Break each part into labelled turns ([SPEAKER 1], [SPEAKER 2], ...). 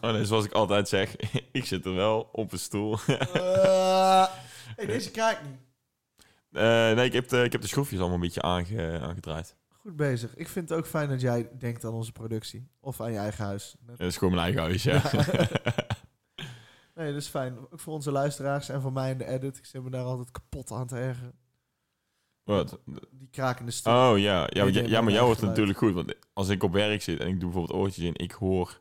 [SPEAKER 1] Oh nee, zoals ik altijd zeg, ik zit er wel op een stoel.
[SPEAKER 2] Eh, hey, deze kraakt niet.
[SPEAKER 1] Eh, nee, ik heb, de, ik heb de schroefjes allemaal een beetje aange, aangedraaid.
[SPEAKER 2] Goed bezig. Ik vind het ook fijn dat jij denkt aan onze productie. Of aan je eigen huis.
[SPEAKER 1] Ja, dat is gewoon mijn eigen huis, ja.
[SPEAKER 2] Nee, dat is fijn. Ook voor onze luisteraars en voor mij in de edit. Ik zit me daar altijd kapot aan te ergeren.
[SPEAKER 1] Wat?
[SPEAKER 2] Die krakende stoel.
[SPEAKER 1] Oh ja, ja,
[SPEAKER 2] Nee,
[SPEAKER 1] ja,
[SPEAKER 2] nee,
[SPEAKER 1] ja, maar
[SPEAKER 2] maar
[SPEAKER 1] jou wordt het
[SPEAKER 2] geluid.
[SPEAKER 1] natuurlijk goed. Want als ik op werk zit en ik doe bijvoorbeeld oortjes in, ik hoor,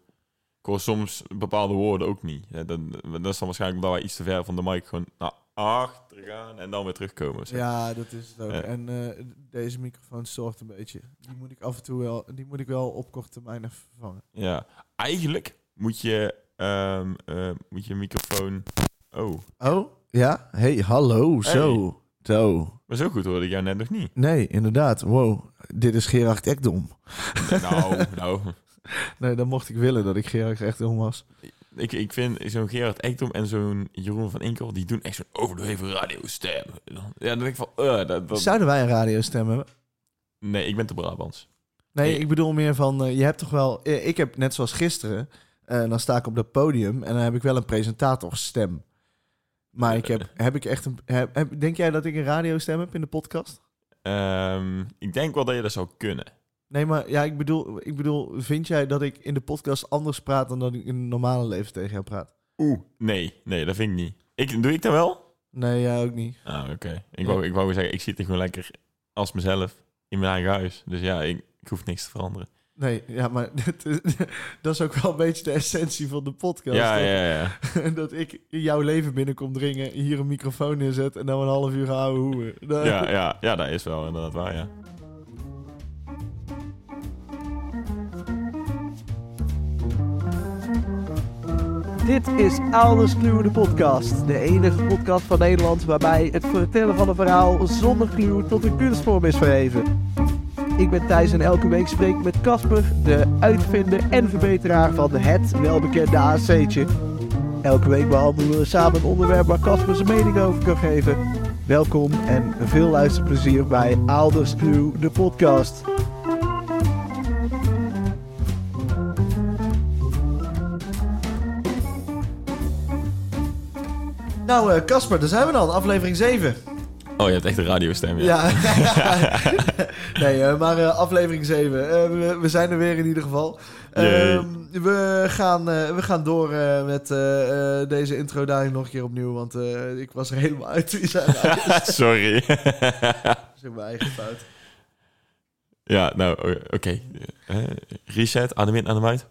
[SPEAKER 1] ik hoor soms bepaalde woorden ook niet. Ja, dan, dat is dan waarschijnlijk omdat wij iets te ver van de mic gewoon naar achter gaan en dan weer terugkomen. zeg.
[SPEAKER 2] Ja, dat is het ook.
[SPEAKER 1] Ja.
[SPEAKER 2] En eh, deze microfoon zorgt een beetje. Die moet ik af en toe wel, die moet ik wel op korte termijn even vervangen.
[SPEAKER 1] Ja, eigenlijk moet je, ehm, eh, moet je microfoon... Oh,
[SPEAKER 2] Oh, ja? Hey, hallo,
[SPEAKER 1] Hey.
[SPEAKER 2] zo. Zo.
[SPEAKER 1] maar zo goed hoorde ik jou net nog niet.
[SPEAKER 2] Nee, inderdaad. Wow, dit is Gerard Ekdom.
[SPEAKER 1] Nou, nou.
[SPEAKER 2] Nee, dan mocht ik willen dat ik Gerard Ekdom was.
[SPEAKER 1] Ik, ik vind zo'n Gerard Ekdom en zo'n Jeroen van Inkel, die doen echt zo'n overdreven radiostem. Ja, dan denk ik van, eh, dat, dat-
[SPEAKER 2] Zouden wij een radiostem hebben?
[SPEAKER 1] nee, ik ben te Brabants.
[SPEAKER 2] Nee,
[SPEAKER 1] Hey.
[SPEAKER 2] ik bedoel meer van, eh, je hebt toch wel... eh, Ik heb net zoals gisteren, eh, dan sta ik op dat podium en dan heb ik wel een presentatorstem. Maar ik heb, heb ik echt een... heb- heb- denk jij dat ik een radiostem heb in de podcast?
[SPEAKER 1] Ehm, ik denk wel dat je dat zou kunnen.
[SPEAKER 2] Nee, maar ja, ik bedoel, ik bedoel, vind jij dat ik in de podcast anders praat dan dat ik in het normale leven tegen jou praat?
[SPEAKER 1] Oeh, nee, nee, dat vind ik niet. Ik, doe ik dat wel?
[SPEAKER 2] Nee, jij ook niet.
[SPEAKER 1] Ah, oké. Ik wou, ik wou gewoon zeggen, ik zit er gewoon lekker als mezelf in mijn eigen huis. Dus ja, ik, ik hoef niks te veranderen.
[SPEAKER 2] Nee, ja, maar dat is, dat is ook wel een beetje de essentie van de podcast.
[SPEAKER 1] Ja,
[SPEAKER 2] toch?
[SPEAKER 1] ja, ja.
[SPEAKER 2] dat ik in jouw leven binnenkom dringen, hier een microfoon neerzet en dan een half uur gaan ouwe hoeren. Dat-
[SPEAKER 1] Ja, ja, ja, dat is wel inderdaad waar, ja.
[SPEAKER 3] Dit is Ouders Kluwen, de podcast. De enige podcast van Nederland waarbij het vertellen van een verhaal zonder kluw tot een kunstvorm is verheven. Ik ben Thijs en elke week spreek ik met Casper, de uitvinder en verbeteraar van het welbekende AC'tje. Elke week behandelen we samen een onderwerp waar Casper zijn mening over kan geven. Welkom en veel luisterplezier bij Ouders Kluwen, de podcast.
[SPEAKER 2] Nou, eh, Casper, daar zijn we dan, aflevering 7.
[SPEAKER 1] Oh, je hebt echt een radiostem, ja.
[SPEAKER 2] Ja. nee, eh, maar eh, aflevering 7. Eh, we, we zijn er weer in ieder geval.
[SPEAKER 1] Yay.
[SPEAKER 2] Ehm, we, gaan, eh, we gaan door eh, met eh, eh, deze intro daarin nog een keer opnieuw, want eh, ik was er helemaal uit. Die zijn uit.
[SPEAKER 1] Sorry.
[SPEAKER 2] Dat is ook mijn eigen fout.
[SPEAKER 1] ja, nou, o- oké. Eh, reset, adem in, adem uit.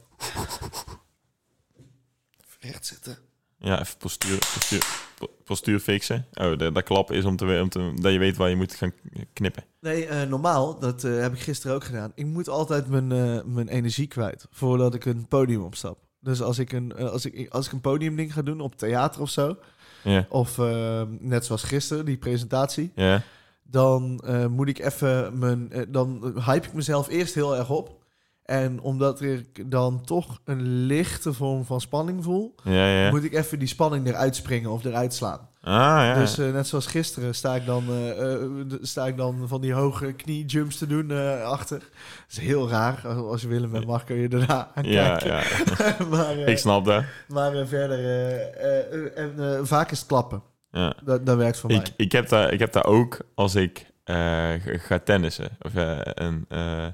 [SPEAKER 2] Recht zitten.
[SPEAKER 1] Ja, even postuur, postuur, po- postuur fixen. Oh, dat, dat klap is om te, we- om te, dat je weet waar je moet gaan knippen.
[SPEAKER 2] Nee, eh, normaal, dat eh, heb ik gisteren ook gedaan. Ik moet altijd mijn, eh, mijn energie kwijt voordat ik een podium opstap. Dus als ik een, eh, als ik, als ik een podiumding ga doen op theater of zo,
[SPEAKER 1] Ja,
[SPEAKER 2] of eh, net zoals gisteren, die presentatie,
[SPEAKER 1] ja,
[SPEAKER 2] dan eh, moet ik even mijn. eh, dan hype ik mezelf eerst heel erg op. En omdat ik dan toch een lichte vorm van spanning voel,
[SPEAKER 1] ja, ja.
[SPEAKER 2] moet ik even die spanning eruit springen of eruit slaan.
[SPEAKER 1] Ah, ja.
[SPEAKER 2] Dus eh, net zoals gisteren sta ik, dan, eh, eh, d- sta ik dan van die hoge kniejumps te doen eh, achter. Dat is heel raar. Als je Willem bent, mag kun je daarna aan
[SPEAKER 1] ja,
[SPEAKER 2] kijken.
[SPEAKER 1] ja.
[SPEAKER 2] maar eh,
[SPEAKER 1] Ik snap dat.
[SPEAKER 2] maar eh, verder... eh, eh, en, eh, vaak is het klappen.
[SPEAKER 1] Ja.
[SPEAKER 2] Dat, dat werkt voor mij.
[SPEAKER 1] Ik, ik, heb dat, ik heb dat ook als ik eh, ga- ga tennissen. Of, eh, en, eh,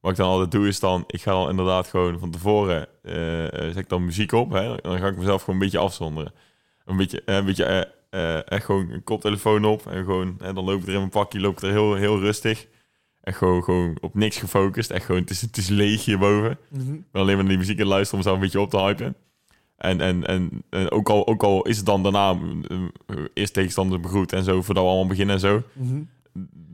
[SPEAKER 1] wat ik dan altijd doe is dan... Ik ga dan inderdaad gewoon van tevoren... eh, eh, zet ik dan muziek op. Hè, dan ga ik mezelf gewoon een beetje afzonderen. Een beetje... eh, een beetje eh, eh, echt gewoon een koptelefoon op. En gewoon... En dan loop ik er in mijn pakje. Loop ik er heel, heel rustig. En gewoon, gewoon op niks gefocust. Echt gewoon... Het is, het is leeg hierboven.
[SPEAKER 2] Mhm.
[SPEAKER 1] Ik ben alleen maar naar die muziek aan het luisteren om zelf een beetje op te hypen. En, en, en, en ook, al, ook al is het dan daarna eh, eerst tegenstanders begroet en zo, voordat we allemaal beginnen en zo.
[SPEAKER 2] Mhm.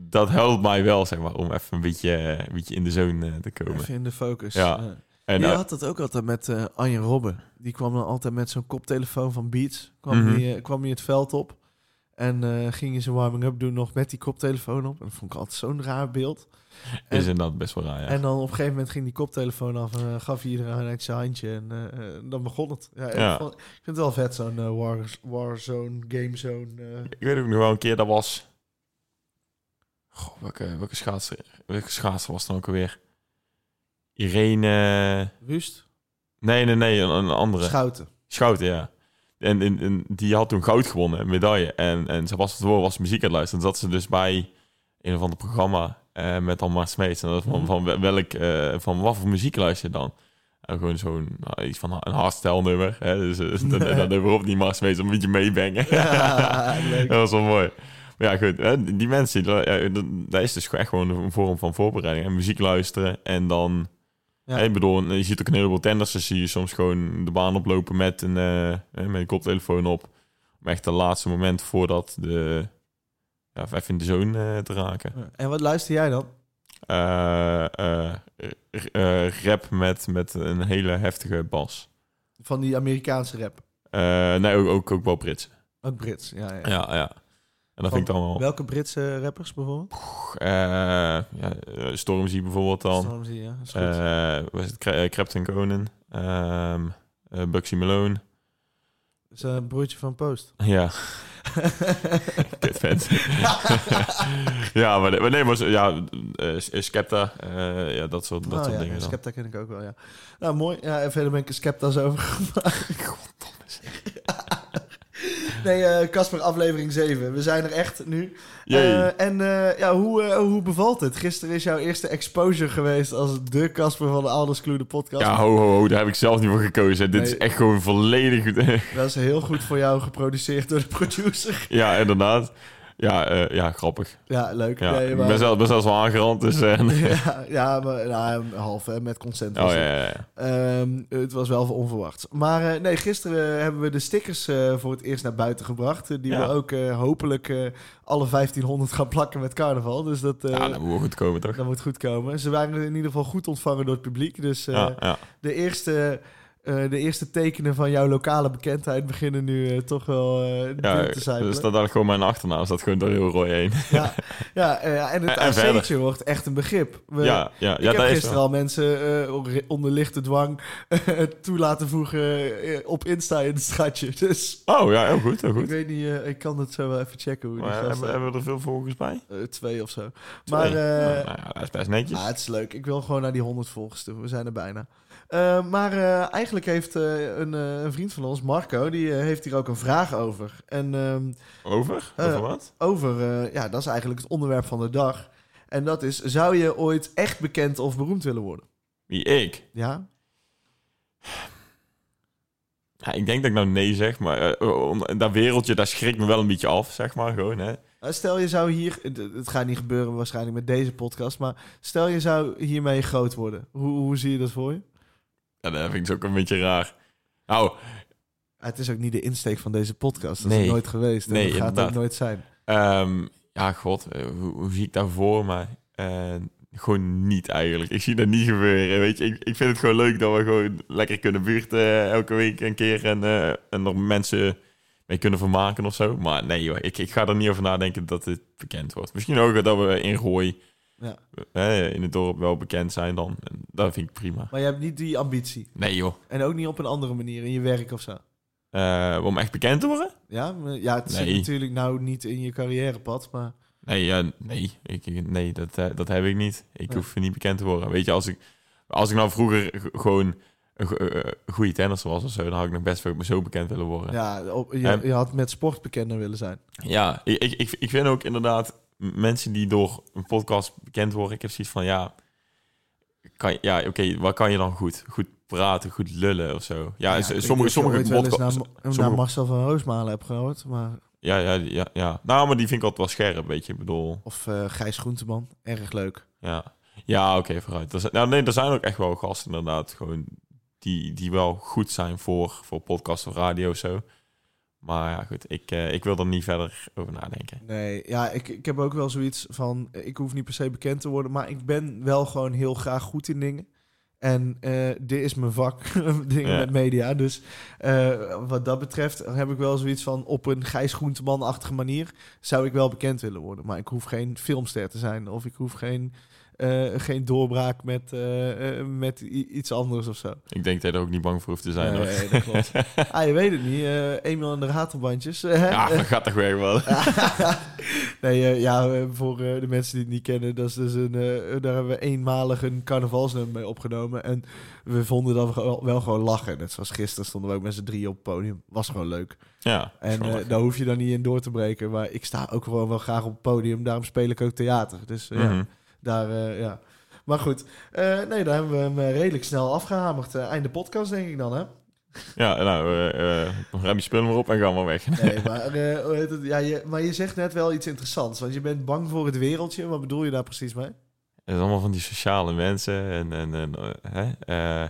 [SPEAKER 1] Dat helpt mij wel, zeg maar, om even een beetje, eh, een beetje in de zone eh, te komen.
[SPEAKER 2] Even in de focus.
[SPEAKER 1] Ja.
[SPEAKER 2] Eh,
[SPEAKER 1] En,
[SPEAKER 2] je
[SPEAKER 1] eh,
[SPEAKER 2] had dat ook altijd met eh Anje Robben. Die kwam dan altijd met zo'n koptelefoon van Beats. Kwam,
[SPEAKER 1] Mhm.
[SPEAKER 2] die, eh, kwam die het veld op. En eh, ging je zijn warming-up doen nog met die koptelefoon op. En dat vond ik altijd zo'n raar beeld. en-
[SPEAKER 1] is inderdaad best wel raar, ja.
[SPEAKER 2] En dan op een gegeven moment ging die koptelefoon af. En eh, gaf iedereen uit zijn handje. En eh, eh, dan begon het. Ja,
[SPEAKER 1] Ja.
[SPEAKER 2] Ik, vond- ik vind het wel vet, zo'n eh, war, Warzone, Gamezone. eh
[SPEAKER 1] Ik weet ook nog wel een keer, dat was... Goh, welke, welke, schaatser, welke schaatser was het dan ook alweer? nou Irene...
[SPEAKER 2] Wust.
[SPEAKER 1] Nee, nee, nee, een, een andere.
[SPEAKER 2] Schouten.
[SPEAKER 1] Schouten, ja. En, en, en die had toen goud gewonnen, een medaille. En, en Sebastian Verwoer was muziek aan het luisteren. En zat ze dus bij een of ander programma eh, met dan maar Smeets. En dat was
[SPEAKER 2] Mhm.
[SPEAKER 1] van, van welk, eh, van wat voor muziek luister je dan? En gewoon zo'n, nou, iets van een hardstyle nummer. Hè? Dus eh, dat- dat nummer op die Mars Smeets, een beetje meebangen.
[SPEAKER 2] Ja, leuk.
[SPEAKER 1] dat was wel mooi. Maar ja, goed. hè, Die mensen, die lu- ja, dat- dat is dus echt gewoon een vorm van voorbereiding. En muziek luisteren en dan
[SPEAKER 2] Ja.
[SPEAKER 1] ja. Ik bedoel, je ziet ook een heleboel tennissers zie je soms gewoon de baan oplopen met een, eh, eh, met een koptelefoon op. Om echt het laatste moment voordat de, ja, even in de zone eh, te raken.
[SPEAKER 2] En wat luister jij dan?
[SPEAKER 1] Eh, eh, r- eh, rap met, met een hele heftige bas.
[SPEAKER 2] Van die Amerikaanse rap.
[SPEAKER 1] Eh, nee, ook, ook, ook wel Brits.
[SPEAKER 2] Ook Brits, ja. ja.
[SPEAKER 1] Ja, ja. En dat vind ik dan wel...
[SPEAKER 2] Welke Britse rappers bijvoorbeeld?
[SPEAKER 1] eh ja, eh, Stormzy bijvoorbeeld dan.
[SPEAKER 2] Stormzy, ja. is goed.
[SPEAKER 1] eh was het Cra- eh, Clapton Conan. ehm eh, Bugsy Malone.
[SPEAKER 2] is dat een broertje van Post.
[SPEAKER 1] Ja. Kut vent. ja, maar, maar nee, maar zo- ja, eh, Skepta, eh, ja, dat soort, dat
[SPEAKER 2] oh,
[SPEAKER 1] soort
[SPEAKER 2] ja,
[SPEAKER 1] dingen dan.
[SPEAKER 2] Skepta ken ik ook wel, ja. Nou, mooi. Ja, en verder ben ik een Skepta's over Nee, eh, Casper, aflevering 7. We zijn er echt nu.
[SPEAKER 1] Jee.
[SPEAKER 2] Eh, en eh, ja, hoe, eh, hoe bevalt het? Gisteren is jouw eerste exposure geweest als de Casper van de Alders Clue, de podcast.
[SPEAKER 1] ja, ho, ho, ho, daar heb ik zelf niet voor gekozen. Dit is
[SPEAKER 2] Nee.
[SPEAKER 1] echt gewoon volledig...
[SPEAKER 2] Dat is heel goed voor jou geproduceerd door de producer.
[SPEAKER 1] ja, inderdaad. Ja, eh, ja grappig.
[SPEAKER 2] Ja, leuk.
[SPEAKER 1] Ja,
[SPEAKER 2] Nee, maar-
[SPEAKER 1] ik ben zelf, ben zelfs wel aangerand, dus... eh,
[SPEAKER 2] ja, ja, maar nou, half hè, met consent.
[SPEAKER 1] oh,
[SPEAKER 2] was
[SPEAKER 1] ja,
[SPEAKER 2] het.
[SPEAKER 1] ja, ja.
[SPEAKER 2] Ehm, het was wel onverwacht. Maar eh, nee, gisteren hebben we de stickers eh, voor het eerst naar buiten gebracht. eh, die
[SPEAKER 1] Ja.
[SPEAKER 2] we ook eh, hopelijk eh, alle 1500 gaan plakken met carnaval. Dus dat, eh,
[SPEAKER 1] ja, dat moet wel goed komen, toch?
[SPEAKER 2] dat moet goed komen. Ze waren in ieder geval goed ontvangen door het publiek. Dus eh,
[SPEAKER 1] Ja, ja.
[SPEAKER 2] de, eerste, eh, de eerste tekenen van jouw lokale bekendheid beginnen nu eh, toch wel eh
[SPEAKER 1] Ja,
[SPEAKER 2] duur te zijn.
[SPEAKER 1] dus dat daar gewoon mijn achternaam staat gewoon door heel rooi heen.
[SPEAKER 2] Ja, ja eh, en het
[SPEAKER 1] En- en verder.
[SPEAKER 2] AC'tje wordt echt een begrip. We-
[SPEAKER 1] ja, ja, ja, dat
[SPEAKER 2] ik heb
[SPEAKER 1] is wel.
[SPEAKER 2] gisteren al mensen eh, onder lichte dwang eh, toe laten voegen eh, op Insta in het straatje. Dus
[SPEAKER 1] Oh, ja, heel goed, heel
[SPEAKER 2] ik
[SPEAKER 1] goed.
[SPEAKER 2] weet niet, eh, ik kan het zo wel even checken hoe die
[SPEAKER 1] Maar
[SPEAKER 2] gasten...
[SPEAKER 1] hebben, hebben we er veel volgers bij?
[SPEAKER 2] Eh, twee of zo. Maar
[SPEAKER 1] Twee.
[SPEAKER 2] eh,
[SPEAKER 1] nou, nou ja, dat is best netjes.
[SPEAKER 2] ah, het is leuk. Ik wil gewoon naar die 100 volgers toe. We zijn er bijna. Eh, maar eh, eigenlijk heeft eh, een, eh, een vriend van ons, Marco, die eh, heeft hier ook een vraag over. En ehm,
[SPEAKER 1] Over?
[SPEAKER 2] Eh,
[SPEAKER 1] Over wat?
[SPEAKER 2] over, eh, ja, dat is eigenlijk het onderwerp van de dag. En dat is, zou je ooit echt bekend of beroemd willen worden?
[SPEAKER 1] Wie ik?
[SPEAKER 2] Ja?
[SPEAKER 1] Ja, ik denk dat ik nou nee zeg, maar eh, om- dat wereldje, daar schrikt me wel een beetje af, zeg maar gewoon. Hè.
[SPEAKER 2] Nou, Stel je zou hier, het- het gaat niet gebeuren waarschijnlijk met deze podcast, maar stel je zou hiermee groot worden. Hoe, hoe zie je dat voor je?
[SPEAKER 1] Ja, dat vind ik dus ook een beetje raar. Nou,
[SPEAKER 2] Ah, Het is ook niet de insteek van deze podcast. Dat is
[SPEAKER 1] Nee.
[SPEAKER 2] het nooit geweest.
[SPEAKER 1] Nee,
[SPEAKER 2] en dat gaat het ook
[SPEAKER 1] inderdaad.
[SPEAKER 2] nooit zijn.
[SPEAKER 1] ehm, ja, god, eh, hoe, hoe zie ik dat voor me? Eh, gewoon niet eigenlijk. Ik zie dat niet gebeuren, weet je. Ik, ik vind het gewoon leuk dat we gewoon lekker kunnen buurten eh, elke week een keer en, eh, en er mensen mee kunnen vermaken of zo. Maar nee, joh, ik, ik ga er niet over nadenken dat dit bekend wordt. Misschien ook dat we in Rooi,
[SPEAKER 2] Ja.
[SPEAKER 1] eh, in het dorp, wel bekend zijn dan. En dat vind ik prima.
[SPEAKER 2] Maar je hebt niet die ambitie.
[SPEAKER 1] Nee joh.
[SPEAKER 2] En ook niet op een andere manier in je werk of zo.
[SPEAKER 1] Eh, om echt bekend te worden?
[SPEAKER 2] Ja, Maar- ja het zit
[SPEAKER 1] Nee.
[SPEAKER 2] natuurlijk nou niet in je carrièrepad, maar...
[SPEAKER 1] Nee, ja, nee. Ik, ik- nee dat, eh, dat heb ik niet. Ik
[SPEAKER 2] Nee.
[SPEAKER 1] hoef niet bekend te worden. Weet je, als ik, als ik nou vroeger g- gewoon een go- eh, goede tennisser was of zo, dan had ik nog best wel zo bekend willen worden. Ja,
[SPEAKER 2] Ja, op, je,
[SPEAKER 1] En-
[SPEAKER 2] je had met sport bekender willen zijn.
[SPEAKER 1] ik, ik, ik, ik vind ook inderdaad m- mensen die door een podcast bekend worden, ik heb zoiets van ja, kan, je- ja oké, wat kan je dan goed? Goed praten, goed lullen of zo. Ja, s-
[SPEAKER 2] ik weet niet
[SPEAKER 1] sommige,
[SPEAKER 2] of je
[SPEAKER 1] sommige
[SPEAKER 2] ooit wel eens
[SPEAKER 1] podcasts.
[SPEAKER 2] naar, naar
[SPEAKER 1] sommige-
[SPEAKER 2] Marcel van Roosmalen heb gehoord, maar...
[SPEAKER 1] Ja, ja, ja, ja. Nou, maar die vind ik altijd wel scherp, weet je. Ik bedoel.
[SPEAKER 2] Of eh, Gijs Groenteman, erg leuk.
[SPEAKER 1] Ja, ja oké, vooruit. Er zijn, nou, nee, er zijn ook echt wel gasten inderdaad gewoon die, die wel goed zijn voor, voor podcast of radio of zo. Maar ja, goed, ik, eh, ik wil er niet verder over nadenken.
[SPEAKER 2] Nee, ja, ik, ik heb ook wel zoiets van... eh, Ik hoef niet per se bekend te worden, maar ik ben wel gewoon heel graag goed in dingen. En eh, dit is mijn vak, dingen
[SPEAKER 1] Ja.
[SPEAKER 2] met media. Dus eh, wat dat betreft heb ik wel zoiets van... op een Gijs Groenteman-achtige manier zou ik wel bekend willen worden. Maar ik hoef geen filmster te zijn of ik hoef geen eh, geen doorbraak met, eh, eh, met i- iets anders of zo.
[SPEAKER 1] Ik denk dat je er ook niet bang voor hoeft te zijn. hoor.
[SPEAKER 2] Nee, dat klopt. ah, je weet het niet. eh Emiel en de ratelbandjes. eh,
[SPEAKER 1] Ja, dat gaat toch weer wel.
[SPEAKER 2] nee, eh, ja, eh, voor eh, de mensen die het niet kennen, dat is dus een, eh, daar hebben we eenmalig een carnavalsnummer mee opgenomen. En we vonden dat we wel, wel gewoon lachen. Net zoals gisteren stonden we ook met z'n drieën op het podium. Was gewoon leuk.
[SPEAKER 1] Ja,
[SPEAKER 2] En
[SPEAKER 1] schandalig.
[SPEAKER 2] eh, daar hoef je dan niet in door te breken. Maar ik sta ook gewoon wel graag op het podium. Daarom speel ik ook theater. Dus eh,
[SPEAKER 1] Mhm.
[SPEAKER 2] ja, daar, eh, ja. Maar goed, eh, nee, daar hebben we hem eh, redelijk snel afgehamerd. Eh, einde podcast denk ik dan, hè?
[SPEAKER 1] Ja, nou, eh, eh, ruim je spullen maar op en ga maar weg.
[SPEAKER 2] Nee, maar, eh, hoe heet het? Ja, je, maar je zegt net wel iets interessants. Want je bent bang voor het wereldje. Wat bedoel je daar precies mee?
[SPEAKER 1] Het is allemaal van die sociale mensen en, en, en eh, hè? eh,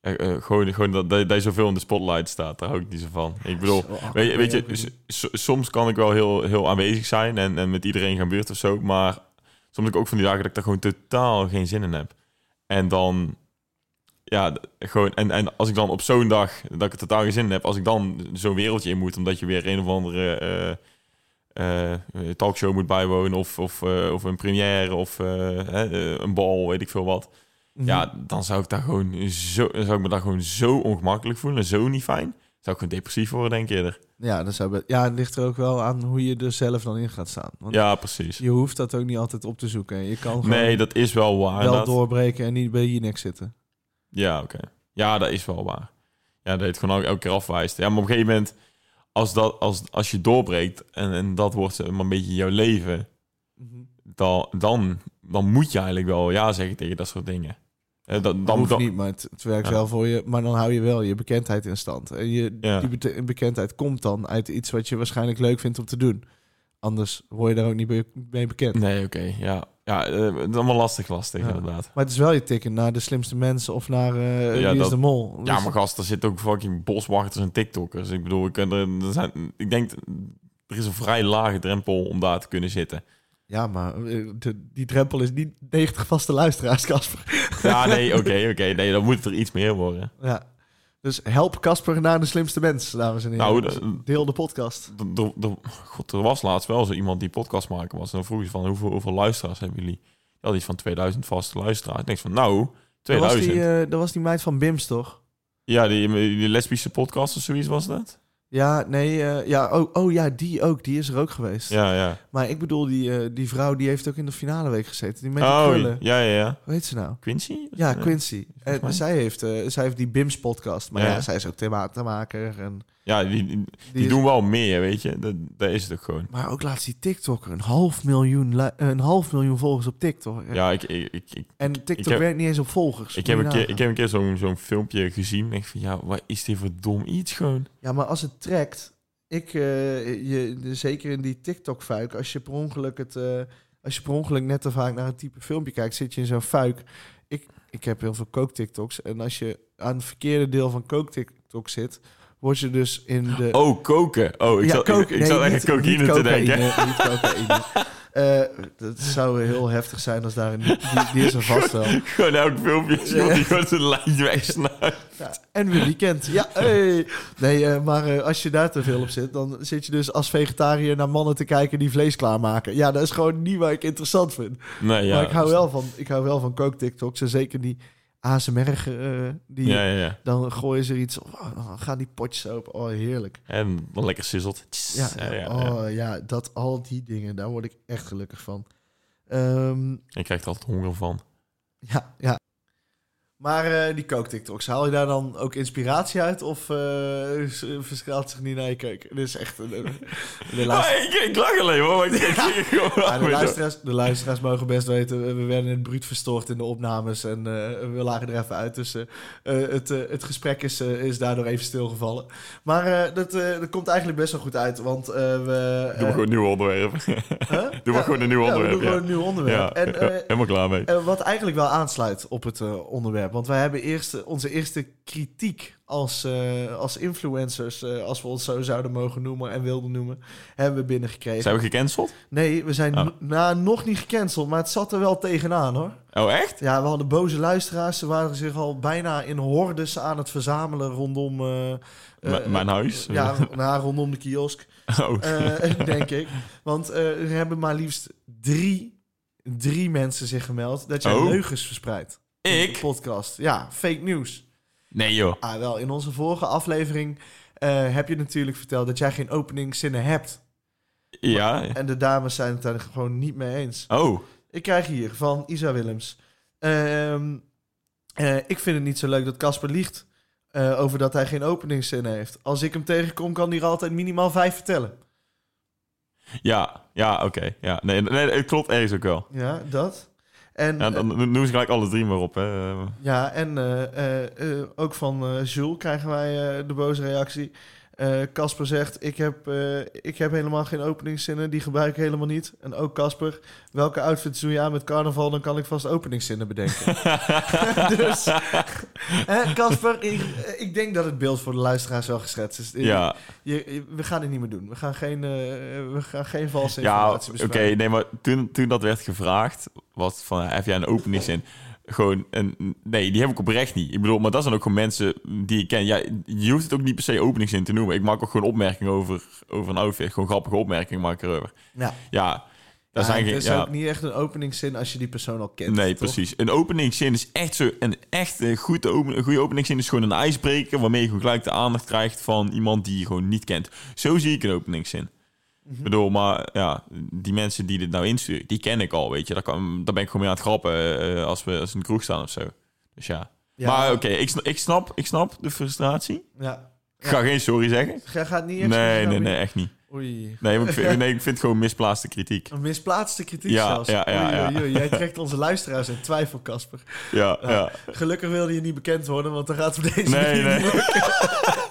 [SPEAKER 1] eh, eh, gewoon, gewoon dat, dat, dat je zoveel in de spotlight staat, daar hou ik niet zo van. Ik bedoel,
[SPEAKER 2] Zo, oh, ach,
[SPEAKER 1] weet, je-
[SPEAKER 2] ik
[SPEAKER 1] weet
[SPEAKER 2] ook
[SPEAKER 1] je, dus,
[SPEAKER 2] niet.
[SPEAKER 1] s- s- soms kan ik wel heel, heel aanwezig zijn en, en met iedereen gaan buurt of zo, maar soms heb ik ook van die dagen dat ik daar gewoon totaal geen zin in heb. En dan, ja, d- gewoon, en, en als ik dan op zo'n dag dat ik er totaal geen zin in heb, als ik dan zo'n wereldje in moet, omdat je weer een of andere eh, eh, een talkshow moet bijwonen of, of, eh, of een première of eh, hè, eh, een bal, weet ik veel wat.
[SPEAKER 2] Mhm.
[SPEAKER 1] Ja, dan zou ik, daar gewoon zo, dan zou ik me daar gewoon zo ongemakkelijk voelen en zo niet fijn. Zou ik gewoon depressief worden, denk ik eerder.
[SPEAKER 2] ja, dat zou be- ja, het ligt er ook wel aan hoe je er zelf dan in gaat staan. Want
[SPEAKER 1] Ja, precies.
[SPEAKER 2] je hoeft dat ook niet altijd op te zoeken. Je kan gewoon
[SPEAKER 1] Nee, dat is wel waar.
[SPEAKER 2] wel
[SPEAKER 1] dat-
[SPEAKER 2] doorbreken en niet bij je nek zitten.
[SPEAKER 1] Ja, oké. Ja, dat is wel waar. Ja, dat je het gewoon el- elke keer afwijst. Ja, maar op een gegeven moment, als, dat, als, als je doorbreekt en, en dat wordt eh, maar een beetje jouw leven, dan, dan, dan moet je eigenlijk wel ja zeggen tegen dat soort dingen. Eh, dat,
[SPEAKER 2] Dan
[SPEAKER 1] dan,
[SPEAKER 2] hoeft
[SPEAKER 1] dan,
[SPEAKER 2] niet, maar het, het werkt
[SPEAKER 1] Ja.
[SPEAKER 2] wel voor je. Maar dan hou je wel je bekendheid in stand. En je,
[SPEAKER 1] Ja.
[SPEAKER 2] die bete- bekendheid komt dan uit iets wat je waarschijnlijk leuk vindt om te doen. Anders word je daar ook niet be- mee bekend.
[SPEAKER 1] Nee, oké. ja, ja eh, het is allemaal lastig, lastig
[SPEAKER 2] Ja.
[SPEAKER 1] inderdaad.
[SPEAKER 2] Maar het is wel je tikken naar de slimste mensen of naar eh
[SPEAKER 1] Ja,
[SPEAKER 2] Wie
[SPEAKER 1] dat-
[SPEAKER 2] is de Mol.
[SPEAKER 1] Ja,
[SPEAKER 2] Dus-
[SPEAKER 1] maar gast, er zitten ook fucking boswachters en TikTokkers. Ik bedoel, ik, er, er zijn, ik denk, er is een vrij lage drempel om daar te kunnen zitten.
[SPEAKER 2] ja, maar eh, de- die drempel is niet 90 vaste luisteraars, Casper.
[SPEAKER 1] Ja, nee, oké, oké. nee, dan moet er iets meer worden.
[SPEAKER 2] Ja. Dus help Casper naar de slimste mens, dames en heren.
[SPEAKER 1] Nou,
[SPEAKER 2] Dus
[SPEAKER 1] dat-
[SPEAKER 2] Deel de podcast.
[SPEAKER 1] Er- er- er- God, er was laatst wel zo iemand die podcast maken was. En dan vroeg ze van, hoeveel, hoeveel luisteraars hebben jullie? Ja, die is van 2000 vaste luisteraars. Ik denk van, nou,
[SPEAKER 2] Dat was,
[SPEAKER 1] 2000.
[SPEAKER 2] die, eh, dat was die meid van Bims, toch?
[SPEAKER 1] Ja, die, die lesbische podcast of zoiets was dat?
[SPEAKER 2] Ja, nee, eh, ja, oh, oh ja, die ook. Die is er ook geweest.
[SPEAKER 1] Ja, ja.
[SPEAKER 2] Maar ik bedoel, die, eh, die vrouw die heeft ook in de finale week gezeten. Die met die
[SPEAKER 1] Oh,
[SPEAKER 2] krullen.
[SPEAKER 1] ja, ja, ja.
[SPEAKER 2] Hoe heet ze nou?
[SPEAKER 1] Quincy?
[SPEAKER 2] Ja, Quincy.
[SPEAKER 1] volgens mij.
[SPEAKER 2] En zij heeft, eh, zij heeft die Bims-podcast. Maar ja.
[SPEAKER 1] Ja.
[SPEAKER 2] zij is ook themamaker. En
[SPEAKER 1] Ja, die, die,
[SPEAKER 2] die
[SPEAKER 1] die
[SPEAKER 2] is-
[SPEAKER 1] doen wel meer, weet je. Dat, dat is het ook gewoon.
[SPEAKER 2] Maar ook laatst die TikToker. Een half miljoen, lu- eh, een half miljoen volgers op TikTok.
[SPEAKER 1] Ja, ik, ik, ik, ik,
[SPEAKER 2] En TikTok
[SPEAKER 1] ik heb-
[SPEAKER 2] werkt niet eens op
[SPEAKER 1] ik
[SPEAKER 2] volgers. Moet
[SPEAKER 1] heb
[SPEAKER 2] je
[SPEAKER 1] een keer,
[SPEAKER 2] nagaan.
[SPEAKER 1] ik heb een keer zo'n zo'n filmpje gezien. En ik van, ja, wat is dit voor dom iets gewoon?
[SPEAKER 2] Ja, maar als het trekt... Ik, eh, je, de- zeker in die TikTok-fuik, als je per ongeluk het... eh, als je per ongeluk net te vaak naar het type filmpje kijkt, zit je in zo'n fuik. Ik, ik heb heel veel kook-TikToks. En als je aan het verkeerde deel van kook-TikTok zit, word je dus in de...
[SPEAKER 1] Oh, koken. Oh, ik zat, ik, ik
[SPEAKER 2] nee,
[SPEAKER 1] zat
[SPEAKER 2] niet-
[SPEAKER 1] echt aan cocaïne
[SPEAKER 2] niet
[SPEAKER 1] te denken.
[SPEAKER 2] cocaïne, niet cocaïne. Eh, dat zou heel heftig zijn als daar een... Die, die is er vast wel.
[SPEAKER 1] Gewoon elk filmpje is iemand die gewoon zijn lijntje wegsnuift.
[SPEAKER 2] Ja, en weer weekend. Ja, hey. Nee, eh, maar eh, als je daar te veel op zit, dan zit je dus als vegetariër naar mannen te kijken die vlees klaarmaken. Ja, dat is gewoon niet waar ik interessant vind.
[SPEAKER 1] Nee, ja.
[SPEAKER 2] maar ik hou,
[SPEAKER 1] dus-
[SPEAKER 2] wel van, ik hou wel van kook-TikToks. En zeker die ASMR, eh, die,
[SPEAKER 1] Ja, ja, ja.
[SPEAKER 2] dan gooien ze er iets op. Oh, dan gaan die potjes open. Oh, heerlijk.
[SPEAKER 1] En dan lekker sizzelt. Tss,
[SPEAKER 2] Ja, ja,
[SPEAKER 1] ja.
[SPEAKER 2] Oh, ja, dat al die dingen, daar word ik echt gelukkig van. Ehm,
[SPEAKER 1] Ik krijg er altijd honger van.
[SPEAKER 2] ja, ja. Maar eh, die kook-TikToks, haal je daar dan ook inspiratie uit? Of eh, s- verschilt zich niet naar je keuken? Dit is echt... een- een- De, luister-
[SPEAKER 1] Ah, ik, ik lach alleen hoor, maar ik ik ging gewoon
[SPEAKER 2] Ja,
[SPEAKER 1] aan
[SPEAKER 2] de,
[SPEAKER 1] me door.
[SPEAKER 2] luisteraars, de luisteraars mogen best weten, eh, we werden het bruut verstoord in de opnames en eh, we lagen er even uit. Dus eh, eh, het, eh, het gesprek is, eh, is daardoor even stilgevallen. Maar eh, dat, eh, dat komt eigenlijk best wel goed uit, want eh, we...
[SPEAKER 1] Doe maar
[SPEAKER 2] eh,
[SPEAKER 1] gewoon een nieuw onderwerp.
[SPEAKER 2] Huh?
[SPEAKER 1] Doe maar gewoon een nieuw
[SPEAKER 2] ja, we
[SPEAKER 1] onderwerp,
[SPEAKER 2] doen
[SPEAKER 1] ja.
[SPEAKER 2] gewoon een nieuw
[SPEAKER 1] Ja,
[SPEAKER 2] onderwerp. En
[SPEAKER 1] ja,
[SPEAKER 2] eh,
[SPEAKER 1] helemaal klaar mee.
[SPEAKER 2] eh, wat eigenlijk wel aansluit op het eh, onderwerp. Want wij hebben eerst eh, onze eerste kritiek als, eh, als influencers, eh, als we ons zo zouden mogen noemen en wilden noemen, hebben we binnengekregen.
[SPEAKER 1] Zijn we gecanceld?
[SPEAKER 2] Nee, we zijn
[SPEAKER 1] Oh.
[SPEAKER 2] no- nou, nog niet gecanceld, maar het zat er wel tegenaan hoor.
[SPEAKER 1] Oh, echt?
[SPEAKER 2] Ja, we hadden boze luisteraars. Ze waren zich al bijna in hordes aan het verzamelen rondom. eh, eh,
[SPEAKER 1] M- mijn huis?
[SPEAKER 2] Ja, nou, rondom de kiosk.
[SPEAKER 1] Oh.
[SPEAKER 2] Eh, denk ik. Want eh, er hebben maar liefst drie drie mensen zich gemeld dat jij
[SPEAKER 1] Oh.
[SPEAKER 2] leugens verspreidt. in de
[SPEAKER 1] Ik?
[SPEAKER 2] Podcast. Ja, fake news.
[SPEAKER 1] Nee joh.
[SPEAKER 2] Ah, wel, in onze vorige aflevering eh, heb je natuurlijk verteld dat jij geen openingszinnen hebt.
[SPEAKER 1] Ja.
[SPEAKER 2] En de dames zijn het daar gewoon niet mee eens.
[SPEAKER 1] Oh.
[SPEAKER 2] Ik krijg hier van Isa Willems. Ehm, eh, ik vind het niet zo leuk dat Casper liegt eh, over dat hij geen openingszin heeft. Als ik hem tegenkom, kan hij er altijd minimaal vijf vertellen.
[SPEAKER 1] Ja. Ja, oké. Ja. Nee, nee, het klopt ergens ook wel.
[SPEAKER 2] Ja, dat. En,
[SPEAKER 1] Ja, dan noemen ze gelijk alle drie maar op. Hè.
[SPEAKER 2] Ja, en eh, eh, eh, ook van eh Jules krijgen wij eh, de boze reactie. Eh, Casper zegt, ik heb, eh, ik heb helemaal geen openingszinnen, die gebruik ik helemaal niet. En ook Casper, welke outfits doe je aan met carnaval, dan kan ik vast openingszinnen bedenken. dus, hè, Casper, ik, eh, ik denk dat het beeld voor de luisteraars wel geschetst is.
[SPEAKER 1] Ja.
[SPEAKER 2] Je- je- we gaan het niet meer doen. We gaan geen, eh, we gaan geen valse
[SPEAKER 1] Ja,
[SPEAKER 2] informatie
[SPEAKER 1] oké,
[SPEAKER 2] bespreken.
[SPEAKER 1] nee, maar toen, toen dat werd gevraagd, was van, heb jij een openingszin? Gewoon, een, nee, die heb ik oprecht niet. Ik bedoel, maar dat zijn ook gewoon mensen die ik ken. Ja, je hoeft het ook niet per se openingszin te noemen. Ik maak ook gewoon opmerkingen over, over een outfit. Gewoon grappige opmerkingen maak ik erover.
[SPEAKER 2] Ja.
[SPEAKER 1] Ja, daar
[SPEAKER 2] Ja,
[SPEAKER 1] zijn
[SPEAKER 2] het
[SPEAKER 1] geen...
[SPEAKER 2] is
[SPEAKER 1] Ja,
[SPEAKER 2] ook niet echt een openingszin als je die persoon al kent.
[SPEAKER 1] nee,
[SPEAKER 2] toch?
[SPEAKER 1] precies. Een openingszin is echt zo... Een echt eh, goed open, een goede openingszin is gewoon een ijsbreker... waarmee je gewoon gelijk de aandacht krijgt van iemand die je gewoon niet kent. Zo zie ik een openingszin.
[SPEAKER 2] Mhm.
[SPEAKER 1] Ik bedoel, maar ja, die mensen die dit nou insturen, die ken ik al, weet je. Daar, kan, daar ben ik gewoon mee aan het grappen eh, als we als we in de kroeg staan of zo. Dus ja.
[SPEAKER 2] Ja.
[SPEAKER 1] Maar oké, ik, sn- ik, snap, ik snap de frustratie.
[SPEAKER 2] Ja.
[SPEAKER 1] Ik ga geen sorry zeggen.
[SPEAKER 2] Jij gaat niet
[SPEAKER 1] Nee,
[SPEAKER 2] echt...
[SPEAKER 1] nee, nee, echt niet.
[SPEAKER 2] Oei.
[SPEAKER 1] Nee, want ik vind, nee, ik vind het gewoon misplaatste kritiek.
[SPEAKER 2] Een misplaatste kritiek
[SPEAKER 1] Ja,
[SPEAKER 2] zelfs.
[SPEAKER 1] ja, ja,
[SPEAKER 2] Oei,
[SPEAKER 1] ja.
[SPEAKER 2] oei, oei. Jij trekt onze luisteraars in twijfel, Casper.
[SPEAKER 1] Ja, ja.
[SPEAKER 2] Gelukkig wilde je niet bekend worden, want dan gaat het op deze
[SPEAKER 1] Nee,
[SPEAKER 2] manier
[SPEAKER 1] nee.
[SPEAKER 2] niet lukken.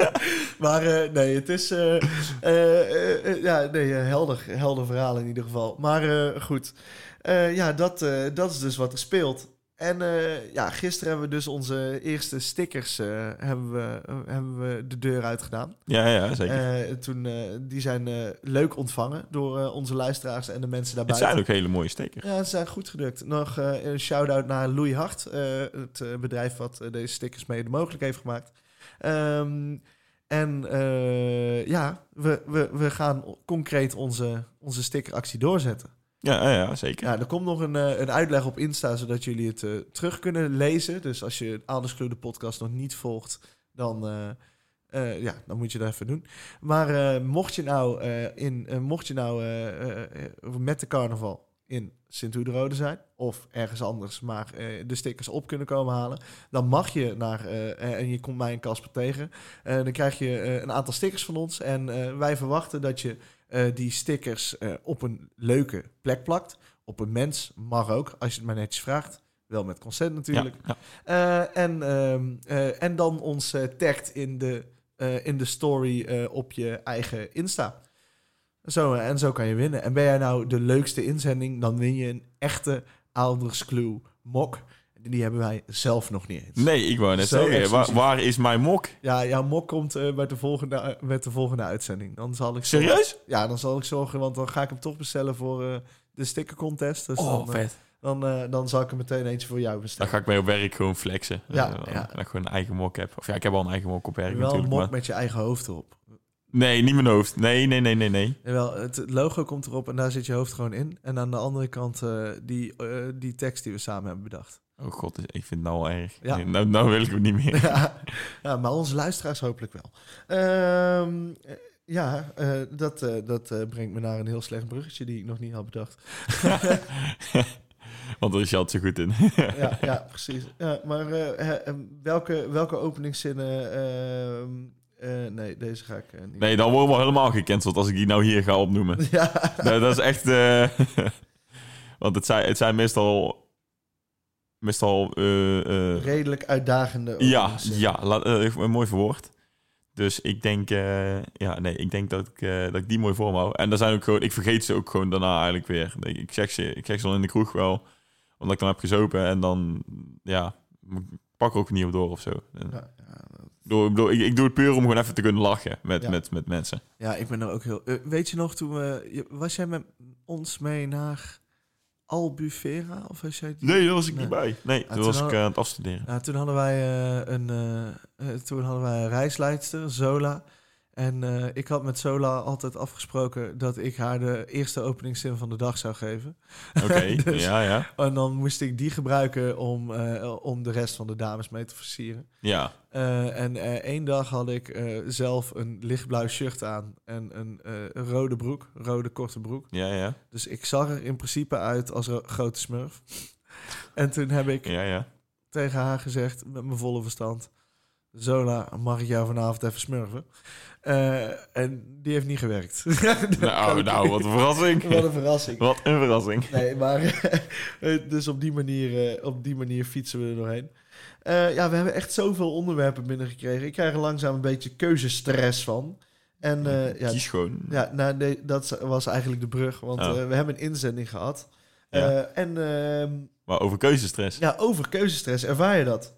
[SPEAKER 2] Maar eh, nee, het is... eh, eh, eh, ja, nee, eh, helder, helder verhaal in ieder geval. Maar eh, goed, Eh, ja, dat, eh, dat is dus wat er speelt. En eh, ja, gisteren hebben we dus onze eerste stickers eh, hebben we, hebben we de deur uitgedaan.
[SPEAKER 1] Ja, ja, zeker.
[SPEAKER 2] Eh, toen, eh, die zijn eh, leuk ontvangen door eh, onze luisteraars en de mensen
[SPEAKER 1] het
[SPEAKER 2] daarbij.
[SPEAKER 1] zijn ook hele mooie stekers.
[SPEAKER 2] Ja, ze zijn goed gedrukt. Nog eh, een shout-out naar Louis Hart, eh, het eh, bedrijf wat eh, deze stickers mede mogelijk heeft gemaakt. Ehm, en eh, ja, we, we, we gaan concreet onze, onze stickeractie doorzetten.
[SPEAKER 1] Ja, ja, ja zeker.
[SPEAKER 2] Ja, er komt nog een, eh, een uitleg op Insta, zodat jullie het eh, terug kunnen lezen. Dus als je Anders Kleur de podcast nog niet volgt, dan, eh, eh, ja, dan moet je dat even doen. Maar eh, mocht je nou, eh, in, eh, mocht je nou eh, eh, eh, met de carnaval in sint Oederode zijn, of ergens anders, maar eh, de stickers op kunnen komen halen, dan mag je naar, eh, eh, en je komt mij en Casper tegen, eh, dan krijg je eh, een aantal stickers van ons. En eh, wij verwachten dat je eh, die stickers eh, op een leuke plek plakt op een mens mag ook, als je het maar netjes vraagt. Wel met consent natuurlijk.
[SPEAKER 1] Ja,
[SPEAKER 2] Eh, en, ehm, eh, en dan ons eh, tagt in de, eh, in de story eh, op je eigen Insta. Zo, eh, en zo kan je winnen. En ben jij nou de leukste inzending, dan win je een echte Alders Clue mok. Die hebben wij zelf nog niet eens.
[SPEAKER 1] Nee, ik wou net
[SPEAKER 2] Zo
[SPEAKER 1] zeggen, waar,
[SPEAKER 2] exclusief.
[SPEAKER 1] waar is mijn mok?
[SPEAKER 2] Ja, jouw mok komt eh, met, de volgende, met de volgende uitzending. Dan zal ik zorgen-
[SPEAKER 1] Serieus?
[SPEAKER 2] Ja, dan zal ik zorgen, want dan ga ik hem toch bestellen voor eh, de sticker contest. Dus dan, eh,
[SPEAKER 1] Oh, vet.
[SPEAKER 2] dan, eh, dan zal ik er meteen eentje voor jou
[SPEAKER 1] Dan
[SPEAKER 2] bestellen.
[SPEAKER 1] ga ik mee op werk gewoon flexen.
[SPEAKER 2] Ja,
[SPEAKER 1] Eh,
[SPEAKER 2] ja.
[SPEAKER 1] Dat ik gewoon een eigen mok heb. Of ja, ik heb al een eigen mok op werk
[SPEAKER 2] wel een
[SPEAKER 1] natuurlijk.
[SPEAKER 2] mok
[SPEAKER 1] maar-
[SPEAKER 2] met je eigen hoofd erop.
[SPEAKER 1] Nee, niet mijn hoofd. Nee, nee, nee, nee, nee.
[SPEAKER 2] Jawel, het logo komt erop en daar zit je hoofd gewoon in. En aan de andere kant eh, die, eh, die tekst die we samen hebben bedacht.
[SPEAKER 1] Oh god, ik vind het nou al erg.
[SPEAKER 2] Ja.
[SPEAKER 1] Nee, nou, nou wil ik het niet meer.
[SPEAKER 2] ja, ja, maar onze luisteraars hopelijk wel. Ehm, eh, ja, eh, dat, eh, dat eh, brengt me naar een heel slecht bruggetje die ik nog niet had bedacht.
[SPEAKER 1] Want daar is Jad zo goed in.
[SPEAKER 2] ja, ja, precies. Ja, maar eh, hè, eh, welke, welke openingszinnen... ehm, eh, nee, deze ga ik eh, niet...
[SPEAKER 1] Nee, dan worden we helemaal gecanceld als ik die nou hier ga opnoemen.
[SPEAKER 2] Ja,
[SPEAKER 1] dat, dat is echt... eh, want het zijn, het zijn meestal... Meestal... eh, eh,
[SPEAKER 2] redelijk uitdagende
[SPEAKER 1] ja,
[SPEAKER 2] openingszinnen.
[SPEAKER 1] ja laat, eh, een mooi verwoord. Dus ik denk... eh, ja, nee, ik denk dat ik, eh, dat ik die mooi vorm hou. En daar zijn ook gewoon... Ik vergeet ze ook gewoon daarna eigenlijk weer. Ik- Ik zeg ze, ik zeg ze al in de kroeg wel. Omdat ik dan heb gezopen en dan... Ja, ik pak er ook niet op door of zo. Eh,
[SPEAKER 2] Ja, ja,
[SPEAKER 1] Ik bedoel, ik, bedoel, ik, ik doe het puur om gewoon even te kunnen lachen met,
[SPEAKER 2] Ja.
[SPEAKER 1] met, met mensen.
[SPEAKER 2] Ja, ik ben er ook heel... eh, weet je nog, toen we, je- was jij met ons mee naar Albufera? Of was jij die-
[SPEAKER 1] Nee, daar was ik
[SPEAKER 2] Nee. Ah,
[SPEAKER 1] niet bij. Nee, toen
[SPEAKER 2] toen
[SPEAKER 1] was ik
[SPEAKER 2] al-
[SPEAKER 1] eh, aan het afstuderen.
[SPEAKER 2] Nou, toen hadden wij eh, een eh, eh, toen hadden wij een reisleidster, Zola. En eh, ik had met Sola altijd afgesproken dat ik haar de eerste openingszin van de dag zou geven.
[SPEAKER 1] Oké,
[SPEAKER 2] Dus-
[SPEAKER 1] ja, ja.
[SPEAKER 2] En dan moest ik die gebruiken om, eh, om de rest van de dames mee te versieren.
[SPEAKER 1] Ja,
[SPEAKER 2] Eh, en eh, één dag had ik eh, zelf een lichtblauw shirt aan en een eh, een rode broek, rode korte broek.
[SPEAKER 1] ja, ja.
[SPEAKER 2] Dus ik zag er in principe uit als een grote smurf. en toen heb ik
[SPEAKER 1] Ja, ja.
[SPEAKER 2] tegen haar gezegd, met mijn volle verstand... Zola, mag ik jou vanavond even smurfen? Eh, en die heeft niet gewerkt. Dat kan
[SPEAKER 1] Nou,
[SPEAKER 2] ik-
[SPEAKER 1] nou, wat een verrassing.
[SPEAKER 2] Wat een verrassing.
[SPEAKER 1] Wat een verrassing.
[SPEAKER 2] Nee, maar... eh, dus op die, manier, eh, op die manier fietsen we er doorheen. Eh, ja, we hebben echt zoveel onderwerpen binnengekregen. Ik krijg er langzaam een beetje keuzestress van. En eh, ja,
[SPEAKER 1] Kies gewoon.
[SPEAKER 2] ja, nou, nee, dat was eigenlijk de brug. Want
[SPEAKER 1] Oh.
[SPEAKER 2] eh, we hebben een inzending gehad.
[SPEAKER 1] Ja.
[SPEAKER 2] Eh, en ehm,
[SPEAKER 1] Maar over keuzestress.
[SPEAKER 2] ja, over keuzestress, ervaar je dat?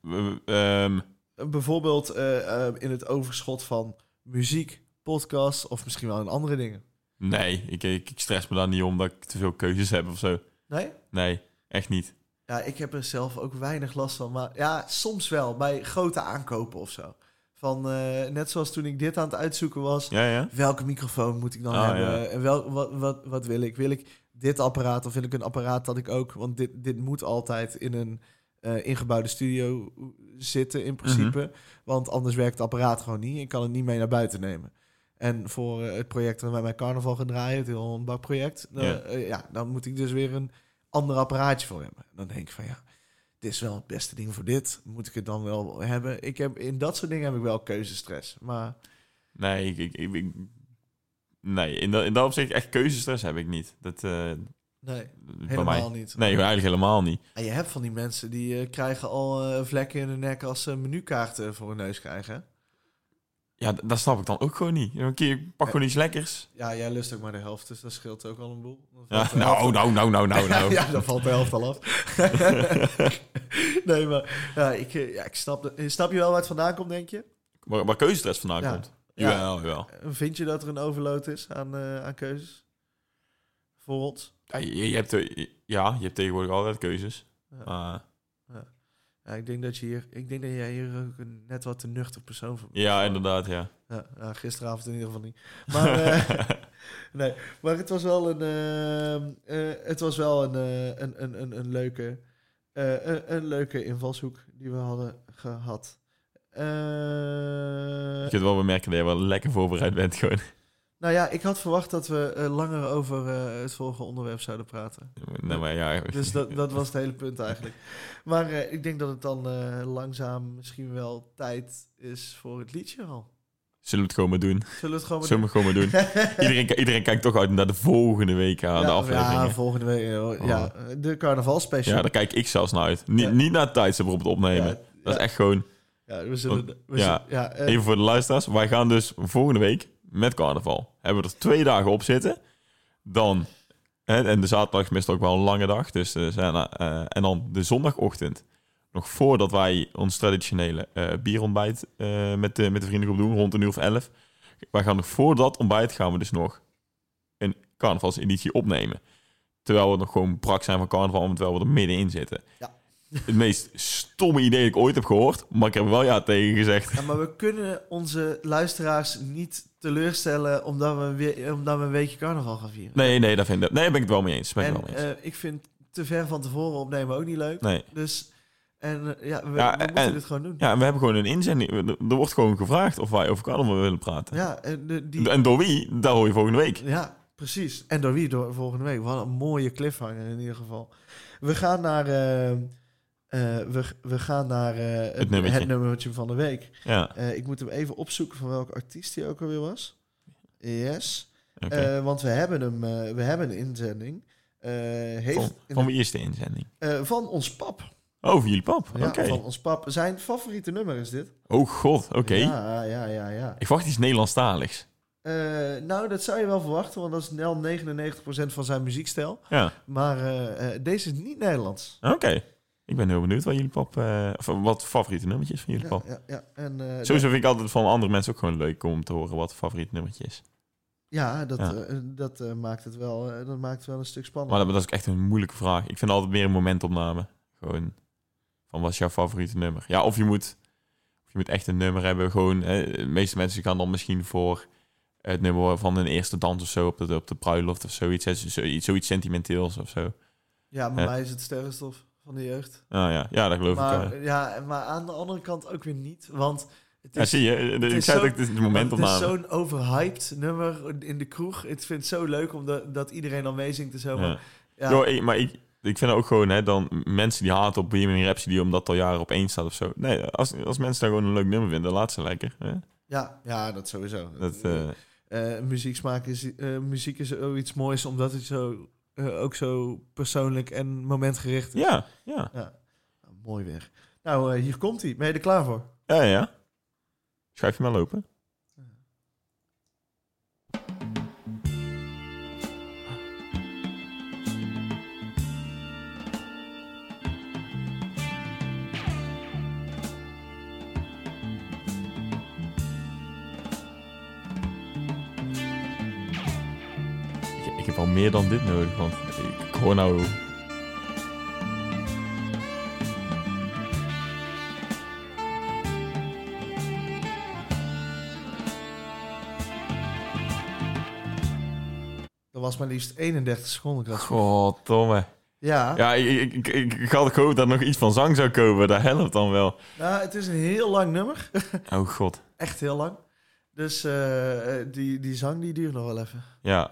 [SPEAKER 1] We- we- ehm,
[SPEAKER 2] Eh, Bijvoorbeeld eh, eh, in het overschot van muziek, podcasts of misschien wel in andere dingen.
[SPEAKER 1] nee, ik, ik, ik stress me daar niet om dat ik te veel keuzes heb of zo.
[SPEAKER 2] Nee?
[SPEAKER 1] Nee, echt niet.
[SPEAKER 2] Ja, ik heb er zelf ook weinig last van. Maar ja, soms wel bij grote aankopen of zo. Van, eh, net zoals toen ik dit aan het uitzoeken was.
[SPEAKER 1] Ja, ja.
[SPEAKER 2] Welke microfoon moet ik dan
[SPEAKER 1] Ah,
[SPEAKER 2] hebben?
[SPEAKER 1] ja.
[SPEAKER 2] En wel, wat, wat, wat wil ik? Wil ik dit apparaat of wil ik een apparaat dat ik ook... Want dit, dit moet altijd in een eh, ingebouwde studio eh, zitten in principe.
[SPEAKER 1] Mhm.
[SPEAKER 2] Want anders werkt het apparaat gewoon niet. Ik kan het niet mee naar buiten nemen. En voor eh, het project waar wij bij carnaval gaan draaien... het heel bakproject... Dan,
[SPEAKER 1] Ja.
[SPEAKER 2] eh, ja, dan moet ik dus weer een ander apparaatje voor hebben. Dan denk ik van ja... Dit is wel het beste ding voor dit. Moet ik het dan wel hebben? Ik heb, in dat soort dingen heb ik wel keuzestress. Maar
[SPEAKER 1] Nee, ik, ik, ik- ik- nee in, dat, in dat opzicht echt keuzestress heb ik niet. Dat, eh,
[SPEAKER 2] nee,
[SPEAKER 1] bij mij.
[SPEAKER 2] helemaal niet.
[SPEAKER 1] Nee, eigenlijk helemaal niet.
[SPEAKER 2] En je hebt van die mensen die eh, krijgen al eh, vlekken in hun nek als ze menukaarten voor hun neus krijgen. hè?
[SPEAKER 1] Ja, d- dat snap ik dan ook gewoon niet. Een keer pak gewoon iets lekkers.
[SPEAKER 2] Ja, jij lust ook maar de helft, dus dat scheelt ook al een boel. Dan
[SPEAKER 1] Ja,
[SPEAKER 2] valt de helft
[SPEAKER 1] nou, nou, nou, nou, nou, nou.
[SPEAKER 2] eh, ja, dan valt de helft al af. nee, maar ja, ik, eh, ja, ik snap, de- snap je wel waar het vandaan komt, denk je?
[SPEAKER 1] Waar, waar keuzestress vandaan
[SPEAKER 2] Ja.
[SPEAKER 1] komt.
[SPEAKER 2] Ja.
[SPEAKER 1] Jawel, jawel.
[SPEAKER 2] Eh, Vind je dat er een overload is aan, eh, aan keuzes? Voor ons?
[SPEAKER 1] Ja, je, je hebt, eh, ja, je hebt tegenwoordig altijd keuzes.
[SPEAKER 2] Ja.
[SPEAKER 1] Maar
[SPEAKER 2] Ja, ik, denk dat je hier, ik denk dat jij hier ook een net wat te nuchter persoon van bent.
[SPEAKER 1] ja, inderdaad, ja.
[SPEAKER 2] Ja, nou, gisteravond in ieder geval niet. Maar, eh, nee, maar het was wel een, ehm, eh, het was wel een, eh, een, een, een, een leuke, eh, een, een leuke invalshoek die we hadden gehad. Eh,
[SPEAKER 1] Je kunt wel bemerken dat je wel lekker voorbereid bent gewoon.
[SPEAKER 2] nou ja, ik had verwacht dat we eh, langer over eh, het volgende onderwerp zouden praten.
[SPEAKER 1] Nee, Nou, maar ja.
[SPEAKER 2] Dus dat, dat was het hele punt eigenlijk. Maar eh, ik denk dat het dan eh, langzaam misschien wel tijd is voor het liedje al.
[SPEAKER 1] Zullen we het gewoon maar doen.
[SPEAKER 2] Zullen we het gewoon maar
[SPEAKER 1] Zullen we het gewoon maar doen. Iedereen, ki- iedereen kijkt toch uit naar de volgende week aan de
[SPEAKER 2] Ja,
[SPEAKER 1] afleveringen.
[SPEAKER 2] volgende week. eh, Ja, de
[SPEAKER 1] Ja,
[SPEAKER 2] carnavalspecial.
[SPEAKER 1] daar kijk ik zelfs naar uit. Niet,
[SPEAKER 2] Ja.
[SPEAKER 1] niet naar het tijdstip op het opnemen.
[SPEAKER 2] Ja,
[SPEAKER 1] Dat is
[SPEAKER 2] ja.
[SPEAKER 1] echt gewoon...
[SPEAKER 2] Ja, we zullen...
[SPEAKER 1] Ja.
[SPEAKER 2] We zullen- ja, eh,
[SPEAKER 1] Even voor de luisteraars. Wij gaan dus volgende week met carnaval. Hebben we er twee dagen op zitten. Dan... En, en de zaterdag is meestal ook wel een lange dag. Dus, eh, zijn, eh, en dan de zondagochtend. Nog voordat wij ons traditionele eh, bierontbijt eh, met, de, met de vriendengroep doen. Rond een uur of elf. Wij gaan nog voor dat ontbijt gaan we dus nog een carnavalseditie opnemen. Terwijl we nog gewoon brak zijn van carnaval, omdat we er middenin zitten.
[SPEAKER 2] Ja.
[SPEAKER 1] Het meest stomme idee dat ik ooit heb gehoord, maar ik heb er wel ja tegen gezegd.
[SPEAKER 2] ja, maar we kunnen onze luisteraars niet teleurstellen... omdat we een, we- omdat we een weekje carnaval gaan vieren.
[SPEAKER 1] Nee, nee, dat vind ik, nee, daar ben ik het wel mee eens. Ben ik
[SPEAKER 2] en
[SPEAKER 1] het wel mee eens.
[SPEAKER 2] eh, ik vind te ver van tevoren opnemen ook niet leuk.
[SPEAKER 1] nee.
[SPEAKER 2] Dus... En eh, ja, we,
[SPEAKER 1] Ja,
[SPEAKER 2] we
[SPEAKER 1] en-
[SPEAKER 2] moeten dit gewoon doen. Ja,
[SPEAKER 1] Ja, en we hebben gewoon een inzending. Er- Er wordt gewoon gevraagd of wij over carnaval willen praten.
[SPEAKER 2] en de- die...
[SPEAKER 1] En door wie, daar hoor je volgende week.
[SPEAKER 2] Ja, precies. En door wie? Door volgende week. Wat een mooie cliffhanger in ieder geval. We gaan naar... eh, eh, we, we gaan naar eh, het,
[SPEAKER 1] nummertje.
[SPEAKER 2] het nummertje van de week.
[SPEAKER 1] Ja,
[SPEAKER 2] Eh, ik moet hem even opzoeken van welke artiest hij ook alweer was. Yes.
[SPEAKER 1] oké.
[SPEAKER 2] Eh, want we hebben hem, eh, we hebben een inzending. Eh, heeft
[SPEAKER 1] van, van wie is de inzending?
[SPEAKER 2] Eh, van ons pap.
[SPEAKER 1] Oh, van jullie pap. Oké.
[SPEAKER 2] Ja, Van ons pap. Zijn favoriete nummer is dit.
[SPEAKER 1] Oh god, oké.
[SPEAKER 2] Ja, ja, ja, ja.
[SPEAKER 1] Ik wacht iets Nederlandstaligs.
[SPEAKER 2] Eh, nou, dat zou je wel verwachten, want dat is Nel 99% van zijn muziekstijl.
[SPEAKER 1] Ja.
[SPEAKER 2] Maar eh, eh, deze is niet Nederlands.
[SPEAKER 1] Oké. Ik ben heel benieuwd wat jullie pap... eh, of wat favoriete nummertje is van jullie
[SPEAKER 2] Ja,
[SPEAKER 1] pap.
[SPEAKER 2] ja, ja. En, eh,
[SPEAKER 1] Sowieso vind ik altijd van andere mensen ook gewoon leuk om te horen wat favoriet nummertje is.
[SPEAKER 2] ja, dat,
[SPEAKER 1] Ja.
[SPEAKER 2] eh, dat, eh, maakt het wel, eh, dat maakt het wel een stuk
[SPEAKER 1] Maar
[SPEAKER 2] spannender.
[SPEAKER 1] dat, dat is ook echt een moeilijke vraag. Ik vind altijd meer een momentopname. Gewoon van wat is jouw favoriete nummer? Ja, of je moet, of je Je moet echt een nummer hebben. Gewoon, hè, de meeste mensen gaan dan misschien voor het nummer van hun eerste dans of zo op de, op de bruiloft of zoiets. hè, zo- Zoiets, zoiets sentimenteels of zo.
[SPEAKER 2] Ja, maar
[SPEAKER 1] Ja.
[SPEAKER 2] mij is het sterrenstof van de jeugd.
[SPEAKER 1] Nou ja, ja dat geloof ik.
[SPEAKER 2] Maar,
[SPEAKER 1] wel.
[SPEAKER 2] ja, maar aan de andere kant ook weer niet. Want het
[SPEAKER 1] Ja,
[SPEAKER 2] is,
[SPEAKER 1] zie je, ik
[SPEAKER 2] is
[SPEAKER 1] zei
[SPEAKER 2] zo-
[SPEAKER 1] het ook, dit is de
[SPEAKER 2] het is
[SPEAKER 1] momentopname.
[SPEAKER 2] zo'n overhyped nummer in de kroeg. Ik vind het zo leuk om de- dat iedereen dan meezingt en zo.
[SPEAKER 1] Ja.
[SPEAKER 2] Maar, ja.
[SPEAKER 1] Yo, ik- maar ik, ik vind ook gewoon, hè, dan mensen die haten op Bohemian Rhapsody omdat het al jaren op één staat of zo. Nee, als, als mensen daar gewoon een leuk nummer vinden, laat ze lekker. Hè?
[SPEAKER 2] Ja, ja, dat sowieso.
[SPEAKER 1] Dat, eh,
[SPEAKER 2] Eh, muzieksmaak is, eh, muziek is zoiets moois omdat het zo, eh, ook zo persoonlijk en momentgericht is.
[SPEAKER 1] ja, ja.
[SPEAKER 2] Ja. Nou, mooi weer. Nou, eh, hier komt hij. Ben je er klaar voor?
[SPEAKER 1] Ja, ja. Schuif je maar lopen. Ik- Ik heb al meer dan dit nodig, want ik hoor nou...
[SPEAKER 2] Dat was maar liefst 31 seconden. ik dacht,
[SPEAKER 1] Goddomme.
[SPEAKER 2] Ja.
[SPEAKER 1] Ja, ik, ik, ik, ik had gehoopt dat er nog iets van zang zou komen. Dat helpt dan wel.
[SPEAKER 2] Nou, het is een heel lang nummer.
[SPEAKER 1] Oh god.
[SPEAKER 2] Echt heel lang. Dus eh, eh, die, die zang die duurt nog wel even.
[SPEAKER 1] Ja.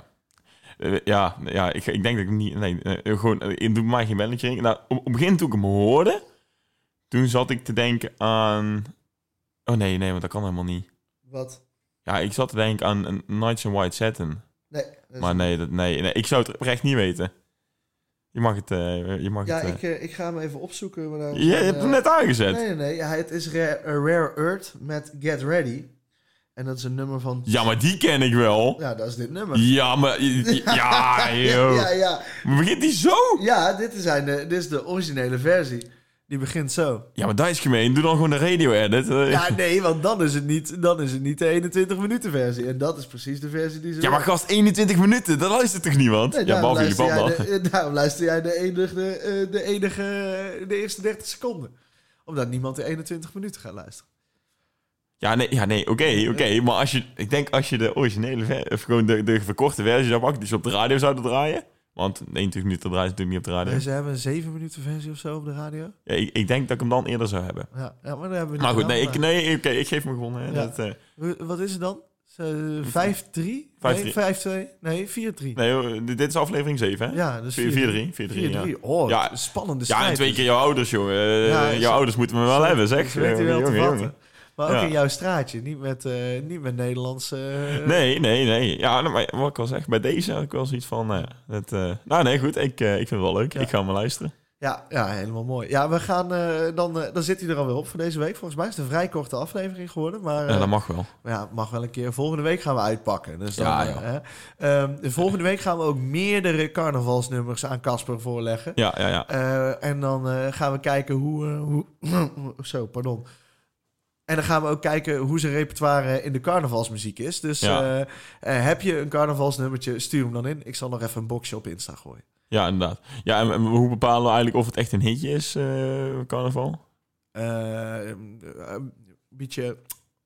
[SPEAKER 1] Eh, Ja, ja ik, ik denk dat ik hem niet... Nee, eh, gewoon, eh, ik doe maar geen belletje ringen. Nou, op, op het begin toen ik hem hoorde, toen zat ik te denken aan... Oh nee, nee, want dat kan helemaal niet.
[SPEAKER 2] Wat?
[SPEAKER 1] Ja, ik zat te denken aan een Nights in White Satin.
[SPEAKER 2] Nee. Dus- dat is-
[SPEAKER 1] Maar nee, dat, nee, nee, ik zou het oprecht niet weten. Je mag het... eh, je mag
[SPEAKER 2] ja,
[SPEAKER 1] het eh,
[SPEAKER 2] ik, eh, ik ga hem even opzoeken. Maar daar-
[SPEAKER 1] je hebt
[SPEAKER 2] eh,
[SPEAKER 1] hem net aangezet.
[SPEAKER 2] Nee, nee, nee. Ja, het is Ra- Rare Earth met Get Ready. En dat is een nummer van...
[SPEAKER 1] Ja, maar die ken ik wel.
[SPEAKER 2] Ja, dat is dit nummer.
[SPEAKER 1] Ja, maar... Ja, joh.
[SPEAKER 2] ja, ja.
[SPEAKER 1] Begint die zo?
[SPEAKER 2] Ja, dit is, zijn, eh, dit is de originele versie. Die begint zo.
[SPEAKER 1] Ja, maar dat is gemeen. Doe dan gewoon de radio-edit. Eh,
[SPEAKER 2] Ja, nee, want dan is het niet, dan is het niet de 21 minuten versie. En dat is precies de versie die ze
[SPEAKER 1] Ja, maar gast, 21 minuten, dat luistert toch niemand? ja,
[SPEAKER 2] Nee, daarom,
[SPEAKER 1] behalve je
[SPEAKER 2] luister
[SPEAKER 1] papa.
[SPEAKER 2] jij de, eh, daarom luister jij de enige, eh, de, enige, eh, de eerste 30 seconden. Omdat niemand de 21 minuten gaat luisteren.
[SPEAKER 1] Ja, nee, ja, nee oké, oké. maar als je, ik denk als je de originele, ver- of gewoon de, de verkorte versie zou pakken, die ze op de radio zouden draaien. Want 21 minuten draaien ze natuurlijk niet op de radio.
[SPEAKER 2] Nee, ze hebben een 7 minuten versie of zo op de radio.
[SPEAKER 1] Ja, ik, ik denk dat ik hem dan eerder zou hebben.
[SPEAKER 2] Ja, ja maar daar hebben we
[SPEAKER 1] Maar
[SPEAKER 2] niet
[SPEAKER 1] Nou goed, nee, ik,
[SPEAKER 2] gedaan,
[SPEAKER 1] nee oké, ik geef me gewonnen. Hè.
[SPEAKER 2] Ja.
[SPEAKER 1] Dat, eh,
[SPEAKER 2] maar- Wat is het dan? Ze- 5-3?
[SPEAKER 1] 5-3.
[SPEAKER 2] Nee, 5-2? Nee, 4-3.
[SPEAKER 1] nee, hoor, dit dit is aflevering 7, hè?
[SPEAKER 2] Ja, dus
[SPEAKER 1] 4-3, 4-3, ja.
[SPEAKER 2] 4-3. Oh,
[SPEAKER 1] Ja.
[SPEAKER 2] spannende strijd.
[SPEAKER 1] Ja, en twee keer jouw ouders, jongen. Eh,
[SPEAKER 2] Ja,
[SPEAKER 1] jouw
[SPEAKER 2] zo-
[SPEAKER 1] ouders moeten me wel
[SPEAKER 2] Zo-
[SPEAKER 1] hebben,
[SPEAKER 2] dat
[SPEAKER 1] zeg.
[SPEAKER 2] weet u wel
[SPEAKER 1] Jongen,
[SPEAKER 2] te
[SPEAKER 1] jongen.
[SPEAKER 2] vatten. Maar ook
[SPEAKER 1] Ja.
[SPEAKER 2] in jouw straatje, niet met, eh, niet met Nederlandse... eh,
[SPEAKER 1] Nee, nee, nee. Ja, nou, maar wat ik al zeg, bij deze had ik wel zoiets van... nou ja, dat, eh, nou nee, goed, ik, eh, ik vind het wel leuk.
[SPEAKER 2] Ja.
[SPEAKER 1] Ik ga hem wel luisteren.
[SPEAKER 2] Ja, ja, helemaal mooi. Ja, we gaan, eh, dan, eh, dan zit hij er alweer op voor deze week. Volgens mij is het een vrij korte aflevering geworden. Maar
[SPEAKER 1] Ja,
[SPEAKER 2] eh,
[SPEAKER 1] dat mag wel.
[SPEAKER 2] ja, mag wel een keer. Volgende week gaan we uitpakken. Dus dan,
[SPEAKER 1] Ja,
[SPEAKER 2] eh,
[SPEAKER 1] joh.
[SPEAKER 2] hè. Ehm, de volgende week gaan we ook meerdere carnavalsnummers aan Casper voorleggen.
[SPEAKER 1] Ja, ja, ja.
[SPEAKER 2] Eh, en dan eh, gaan we kijken hoe, eh, hoe... Zo, pardon. En dan gaan we ook kijken hoe zijn repertoire in de carnavalsmuziek is. Dus
[SPEAKER 1] Ja.
[SPEAKER 2] eh, eh, heb je een carnavalsnummertje, stuur hem dan in. Ik zal nog even een boxje op Insta gooien.
[SPEAKER 1] Ja, inderdaad. Ja, en, en hoe bepalen we eigenlijk of het echt een hitje is, eh, carnaval?
[SPEAKER 2] Eh, een beetje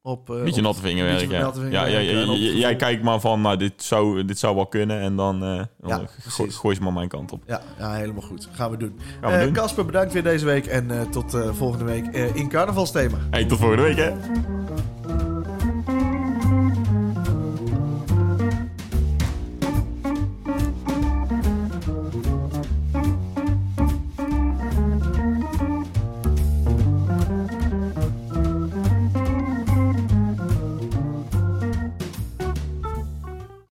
[SPEAKER 2] op... eh,
[SPEAKER 1] beetje
[SPEAKER 2] op-
[SPEAKER 1] natte vingerwerk,
[SPEAKER 2] beetje
[SPEAKER 1] ja.
[SPEAKER 2] natte
[SPEAKER 1] ja, ja,
[SPEAKER 2] vingerwerk,
[SPEAKER 1] ja,
[SPEAKER 2] en op het
[SPEAKER 1] ja,
[SPEAKER 2] gevoel.
[SPEAKER 1] Jij kijkt maar van, nou, dit zou, dit zou wel kunnen. En dan, eh, dan
[SPEAKER 2] precies.
[SPEAKER 1] gooi, gooi ze maar mijn kant op.
[SPEAKER 2] Ja, ja, helemaal goed. Gaan we doen.
[SPEAKER 1] Gaan we
[SPEAKER 2] Eh,
[SPEAKER 1] doen.
[SPEAKER 2] Casper, bedankt weer deze week. En eh, tot eh, volgende week eh, in carnavalsthema.
[SPEAKER 1] Hey, tot volgende week, hè.